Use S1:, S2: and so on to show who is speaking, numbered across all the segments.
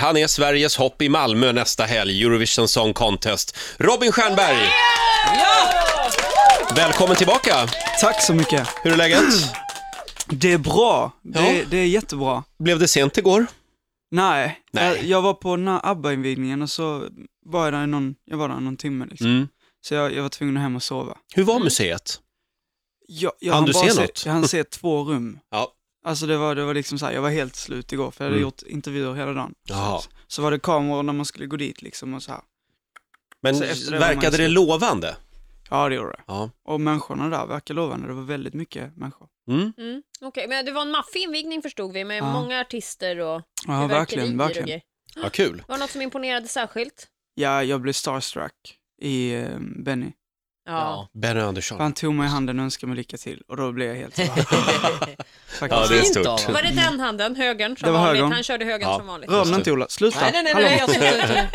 S1: Han är Sveriges hopp i Malmö nästa helg, Eurovision Song Contest. Robin Stjernberg! Välkommen tillbaka!
S2: Tack så mycket.
S1: Hur är läget?
S2: Det är bra. Det,
S1: Ja.
S2: det är jättebra.
S1: Blev det sent igår?
S2: Nej,
S1: Nej.
S2: Jag, jag var på den här ABBA-invigningen och så var jag där i någon, jag var där någon timme liksom.
S1: Mm.
S2: Så jag, jag var tvungen att hem och sova.
S1: Hur var museet?
S2: Jag, jag
S1: Hann du
S2: bara
S1: se
S2: se
S1: något?
S2: Jag hann se två rum.
S1: Ja.
S2: Alltså det var, det var liksom så här, jag var helt slut igår för jag hade gjort intervjuer hela dagen.
S1: Mm. Jaha.
S2: Så, så var det kameror när man skulle gå dit liksom och så här.
S1: Men
S2: Så efter det var
S1: verkade
S2: man
S1: det
S2: ju-
S1: lovande?
S2: Ja, det gjorde det.
S1: Ja.
S2: Och människorna där verkar lovande. Det var väldigt mycket människor.
S1: Mm.
S3: Mm. Okej, men det var en maffig invigning förstod vi med
S2: Ja.
S3: många artister och
S2: Ja, verkligen,
S3: fyrverkerier och
S2: verkligen.
S3: grejer.
S1: Vad kul.
S3: Var det något som imponerade särskilt?
S2: Ja, jag blev starstruck i eh, Benny.
S3: Ja.
S1: Benny Andersson.
S2: För han tog mig i handen och önskade mig lycka till och då blev jag helt så här, faktiskt.
S1: Ja, det är
S4: Fint
S1: stort.
S4: av honom.
S3: Var det den handen, högern som
S2: Det var
S3: vanligt?
S2: högern.
S3: Han körde högern
S1: Ja.
S3: som vanligt.
S2: Rör mig inte Ola, sluta.
S4: Nej, nej, nej,
S2: Hallå.
S4: nej, jag ska inte.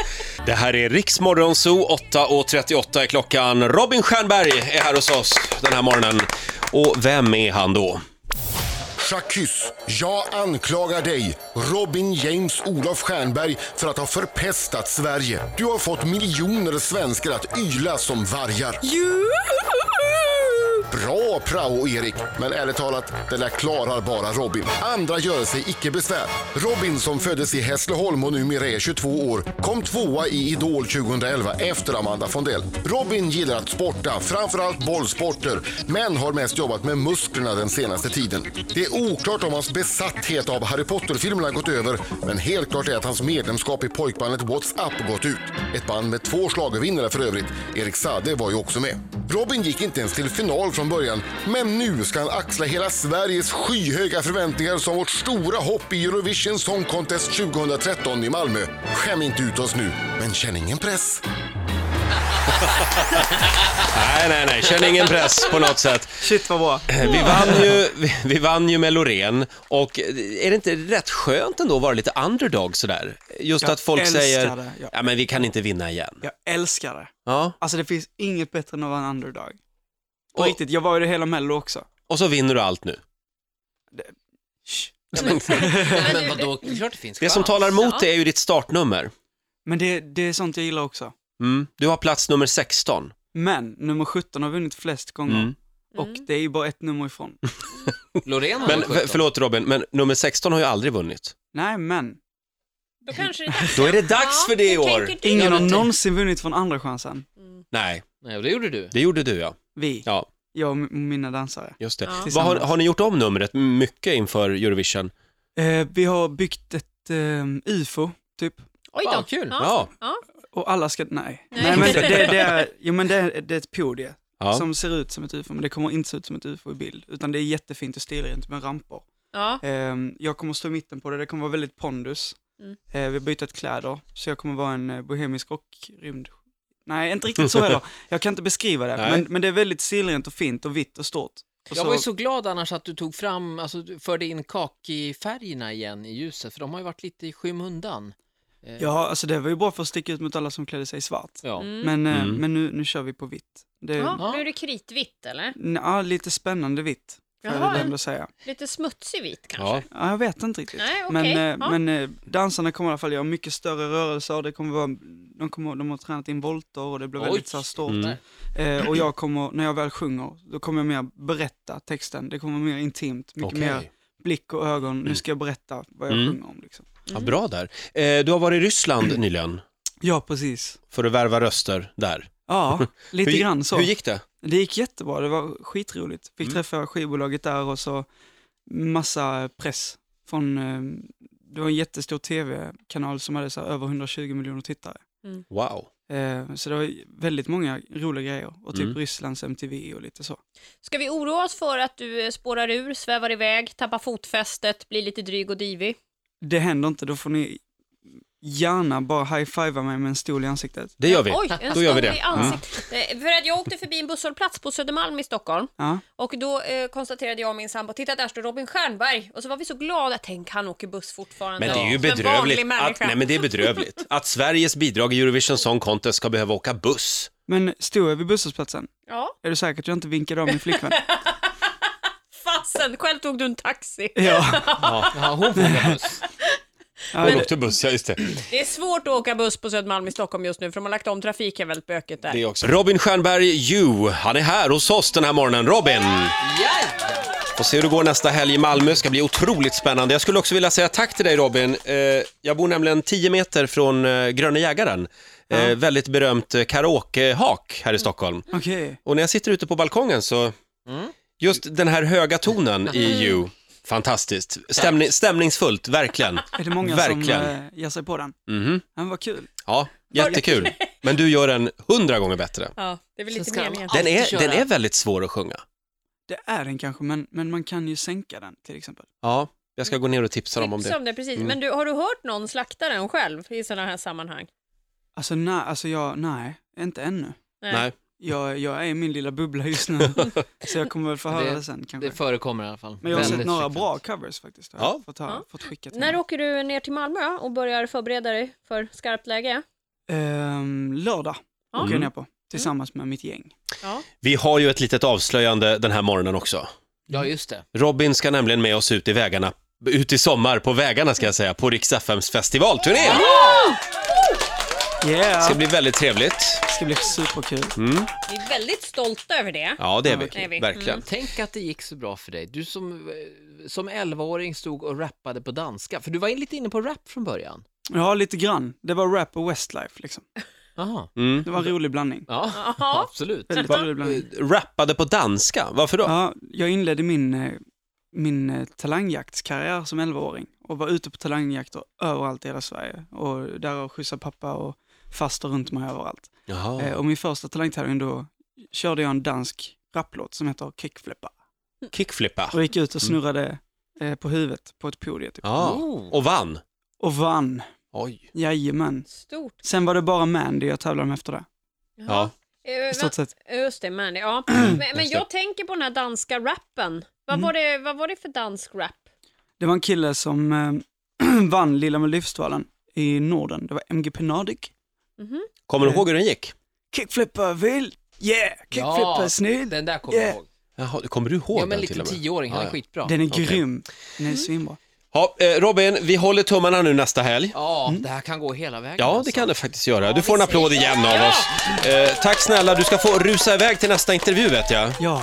S1: Det här är Riksmorgon Zoo, 8.38 är klockan. Robin Stjernberg är här hos oss den här morgonen. Och vem är han då?
S5: Jacques, jag anklagar dig, Robin James Olof Stjernberg, för att ha förpestat Sverige. Du har fått miljoner svenskar att yla som vargar. Bra prao, Erik, men ärligt talat, det där klarar bara Robin. Andra gör sig icke besvär. Robin, som föddes i Hässleholm och numera är 22 år, kom tvåa i Idol 2011 efter Amanda Fondell. Robin gillar att sporta, framförallt bollsporter, men har mest jobbat med musklerna den senaste tiden. Det är oklart om hans besatthet av Harry Potter-filmerna gått över, men helt klart är att hans medlemskap i pojkbandet WhatsApp gått ut. Ett band med två schlagervinnare för övrigt. Erik Sade var ju också med. Robin gick inte ens till final från början, men nu ska han axla hela Sveriges skyhöga förväntningar som vårt stora hopp i Eurovision Song Contest 2013 i Malmö. Skäm inte ut oss nu, men känn ingen press.
S1: Nej, nej, nej, känn ingen press på något sätt.
S2: Shit vad bra.
S1: Eh, Vi vann ju, vi, vi vann ju med Loreen och är det inte rätt skönt ändå att vara lite underdog sådär? Just
S2: Jag
S1: att folk
S2: älskar
S1: säger,
S2: det, ja.
S1: ja men vi kan inte vinna igen.
S2: Jag älskar det.
S1: Ja,
S2: Alltså det finns inget bättre än att vara en underdog. På
S1: Och-
S2: riktigt, jag var ju det hela Mello också.
S1: och så vinner du allt nu.
S2: Shh.
S4: Nej, men vadå, det är klart det finns
S1: Det som talar emot
S3: Ja.
S1: det är ju ditt startnummer.
S2: Men det, det är sånt jag gillar också.
S1: Mm. Du har plats nummer 16.
S2: Men nummer 17 har vunnit flest gånger
S1: Mm.
S2: och det är ju bara ett nummer ifrån.
S4: Loreen har
S1: Men
S4: ju
S1: för,
S4: 17.
S1: förlåt Robin, men nummer 16 har ju aldrig vunnit.
S2: Nej men,
S3: Då kanske det är dags.
S1: Då är det dags för det i
S3: jag
S1: år.
S3: tänker till.
S2: ingen
S4: Ja,
S2: har
S4: det-
S2: någonsin vunnit från andra chansen.
S1: Nej,
S4: Nej, och det gjorde du.
S1: det gjorde du ja.
S2: Vi,
S1: Ja,
S2: jag och m- mina dansare.
S1: just det.
S3: Ja.
S1: Vad har,
S2: Tillsammans.
S1: har ni gjort om numret mycket inför Eurovision?
S2: Eh, vi har byggt ett eh, UFO, typ.
S3: Oj då.
S4: Fan, kul.
S3: Ja.
S1: Ja.
S2: Och alla ska, nej.
S3: Nej.
S2: Nej, men det, det, det, är, jo, men det, är- det är ett podie
S1: Ja.
S2: som ser ut som ett UFO, men det kommer inte se ut som ett UFO i bild, utan det är jättefint och stilrent med ramper.
S3: Ja.
S2: Ehm, jag kommer stå i mitten på det, det kommer vara väldigt pondus.
S3: Mm.
S2: Eh, vi har bytt kläder, så jag kommer vara en eh, bohemisk rockrymd. Nej, inte riktigt så heller. Jag kan inte beskriva det,
S1: Nej.
S2: men, men det är väldigt stilrent och fint och vitt och stort. Och
S4: Jag var ju så glad annars att du tog fram, alltså du förde in kakifärgerna igen i ljuset, för de har ju varit lite i skymundan.
S2: Ja, alltså det var ju bra för att sticka ut mot alla som klädde sig i svart.
S4: Ja.
S3: Mm.
S2: Men, eh,
S1: Mm.
S2: men nu, nu kör vi på vitt. Det, ja.
S3: ja. Nu är det kritvitt eller?
S2: lite spännande vitt, får jag
S3: Jaha.
S2: väl ändå säga.
S3: Lite smutsig vit kanske?
S1: ja.
S2: Ja, jag vet inte riktigt.
S3: Nej, okej.
S2: men eh,
S3: Ja.
S2: men eh, dansarna kommer i alla fall göra mycket större rörelser, det kommer vara, de, kommer, de har tränat in volter och det blir
S4: Oj.
S2: väldigt så här stort.
S1: Mm.
S2: Eh, och jag kommer, när jag väl sjunger, då kommer jag mer berätta texten, det kommer vara mer intimt, mycket
S1: Okej.
S2: mer blick och ögon, nu ska jag berätta vad jag
S1: Mm.
S2: sjunger om. Liksom.
S1: ja, bra där. Eh, du har varit i Ryssland nyligen
S2: Ja, precis.
S1: för att värva röster där.
S2: Ja, lite
S1: hur,
S2: grann så.
S1: Hur gick det?
S2: Det gick jättebra, det var skitroligt. Fick
S1: Mm.
S2: träffa skivbolaget där och så massa press från, eh, det var en jättestor tv-kanal som hade så här över 120 miljoner tittare.
S1: Wow.
S2: Eh, Så det var väldigt många roliga grejer och typ
S1: Mm.
S2: Rysslands MTV och lite så.
S3: Ska vi oroa oss för att du eh, spårar ur, svävar iväg, tappar fotfästet, blir lite dryg och divig?
S2: Det händer inte, då får ni gärna bara high-fivea mig med en stol i ansiktet.
S1: Det gör vi.
S3: Oj, en
S1: Då gör vi
S3: stol i
S1: det. Mm.
S3: ansiktet. Eh, För att jag åkte förbi en busshållplats på Södermalm i Stockholm
S2: Ja,
S3: och då eh, konstaterade jag och min sambo, titta där står Robin Stjernberg och så var vi så glada, tänk han åker buss fortfarande.
S1: Men det är ju
S3: Som en
S1: bedrövligt
S3: vanlig
S1: att,
S3: människa.
S1: nej, men det är bedrövligt att Sveriges bidrag i Eurovision Song Contest ska behöva åka buss.
S2: men stod jag vid busshållplatsen?
S3: Ja,
S2: Är du säker att jag inte vinkade av min flickvän?
S3: fasen, själv tog du en taxi.
S2: ja,
S4: Ja, hon får åka buss.
S2: Ja,
S1: Hon
S2: det-
S1: åkte buss, ja just det.
S3: Det är svårt att åka buss på Södermalm i Stockholm just nu för de har lagt om trafiken väldigt bökigt där.
S1: det också. Robin Stjernberg Ju, han är här hos oss den här morgonen. Robin!
S4: Ja!
S1: Får se hur det går nästa helg i Malmö, ska bli otroligt spännande. Jag skulle också vilja säga tack till dig Robin. Eh, Jag bor nämligen 10 meter från eh, Gröna Jägaren. Eh, Väldigt berömt eh, karaokehak här i Stockholm.
S2: Okej.
S1: Och när jag sitter ute på balkongen så, just den här höga tonen i You, fantastiskt. Stämning, stämningsfullt, verkligen.
S2: Är det många
S1: Verkligen.
S2: som eh, ger sig på den?
S1: Mhm.
S2: Ja, men vad kul.
S1: Ja, jättekul. Men du gör den hundra gånger bättre.
S3: Ja, det är väl
S4: Sen
S3: lite
S4: ska de
S3: meningen.
S4: alltid
S1: Den är,
S4: köra.
S1: den är väldigt svår att sjunga.
S2: Det är den kanske, men, men man kan ju sänka den till exempel.
S1: Ja, jag ska gå ner och tipsa dem om
S3: Tipsa
S1: det.
S3: om det, precis.
S1: Mm.
S3: Men du, har du hört någon slakta den själv i sådana här sammanhang?
S2: Alltså nej, alltså jag, nej, inte ännu.
S1: Nej,
S2: Jag, jag är i min lilla bubbla just nu, så jag kommer väl få höra
S4: Det-
S2: det sen kanske.
S4: Det förekommer i alla fall.
S2: Men jag har sett
S4: Väldigt
S2: några
S4: frekvent.
S2: bra covers faktiskt. Har
S1: Ja.
S2: jag fått, höra,
S3: Ja.
S2: fått skicka
S1: Mm.
S2: till
S3: När
S2: mig.
S3: åker du ner till Malmö och börjar förbereda dig för skarpt läge?
S2: Ehm, lördag
S3: Ja.
S2: åker jag
S1: Mm.
S2: ner på, tillsammans med mitt gäng.
S3: Ja.
S1: vi har ju ett litet avslöjande den här morgonen också.
S4: Ja, just det.
S1: Robin ska nämligen med oss ut i vägarna, ut i sommar på vägarna ska jag säga, på Rix FMs festivalturné.
S2: Yeah!
S4: Mm.
S1: Det
S2: Ska
S1: ska
S2: bli,
S1: bli väldigt trevligt.
S2: ska bli superkul.
S1: Mm.
S3: Vi är väldigt stolta över det.
S1: Ja, det är
S3: Det är
S1: vi.
S3: vi.
S1: Verkligen.
S4: Tänk att det gick så bra för dig. Du som, eh, som 11-åring stod och rappade på danska. För du var in- lite inne på rap från början.
S2: Ja, lite grann. Det var rap och Westlife liksom.
S4: Aha.
S1: Mm.
S2: Det var en rolig blandning.
S4: Ja,
S3: Ja.
S4: absolut.
S2: Väldigt rolig blandning.
S1: Mm. Rappade på danska, varför då?
S2: Ja, jag inledde min, eh, min eh, talangjaktskarriär som 11-åring och var ute på talangjakter överallt i hela Sverige. Och därav skjutsade pappa och faster runt mig överallt. Eh,
S1: Jaha.
S2: Och min första talangtävling då körde jag en dansk raplåt som heter Kickflippa.
S1: Kickflippa.
S2: Och gick ut och snurrade eh, på huvudet på ett podium typ.
S1: Ja,
S4: Oh.
S1: och vann.
S2: Och vann.
S1: Oj.
S2: Jajamän.
S3: Stort.
S2: Sen var det bara Mandy jag tävlade med efter det.
S1: Ja.
S3: Eh,
S2: I stort sett.
S3: men- Just det, man. Ja. Men, men
S1: Just det.
S3: jag tänker på den här danska rappen. Vad,
S2: Mm.
S3: var, det, vad var det för dansk rap?
S2: Det var en kille som eh, vann Lilla med livstvalen i Norden. Det var MGP Nordic.
S1: Kommer du ihåg hur den gick?
S2: Kickflippa vill, yeah! Kickflippa
S4: Ja,
S2: snygg!
S4: Den där kommer
S2: Yeah.
S4: jag ihåg.
S1: Jaha, kommer du ihåg
S4: Ja, men
S1: den till
S4: liten
S1: och med?
S4: tioåring, han
S1: Ja,
S4: är
S1: ja.
S4: skitbra.
S2: Den är
S1: Okej.
S2: grym. Den är svinbra.
S1: Ja, eh, Robin, vi håller tummarna nu nästa helg.
S4: Ja, det här kan gå hela vägen.
S1: Mm. Ja, det
S4: alltså.
S1: kan det faktiskt göra. Du får en
S3: vi
S1: applåd igen av oss. Eh, tack snälla, du ska få rusa iväg till nästa intervju vet jag.
S2: Ja,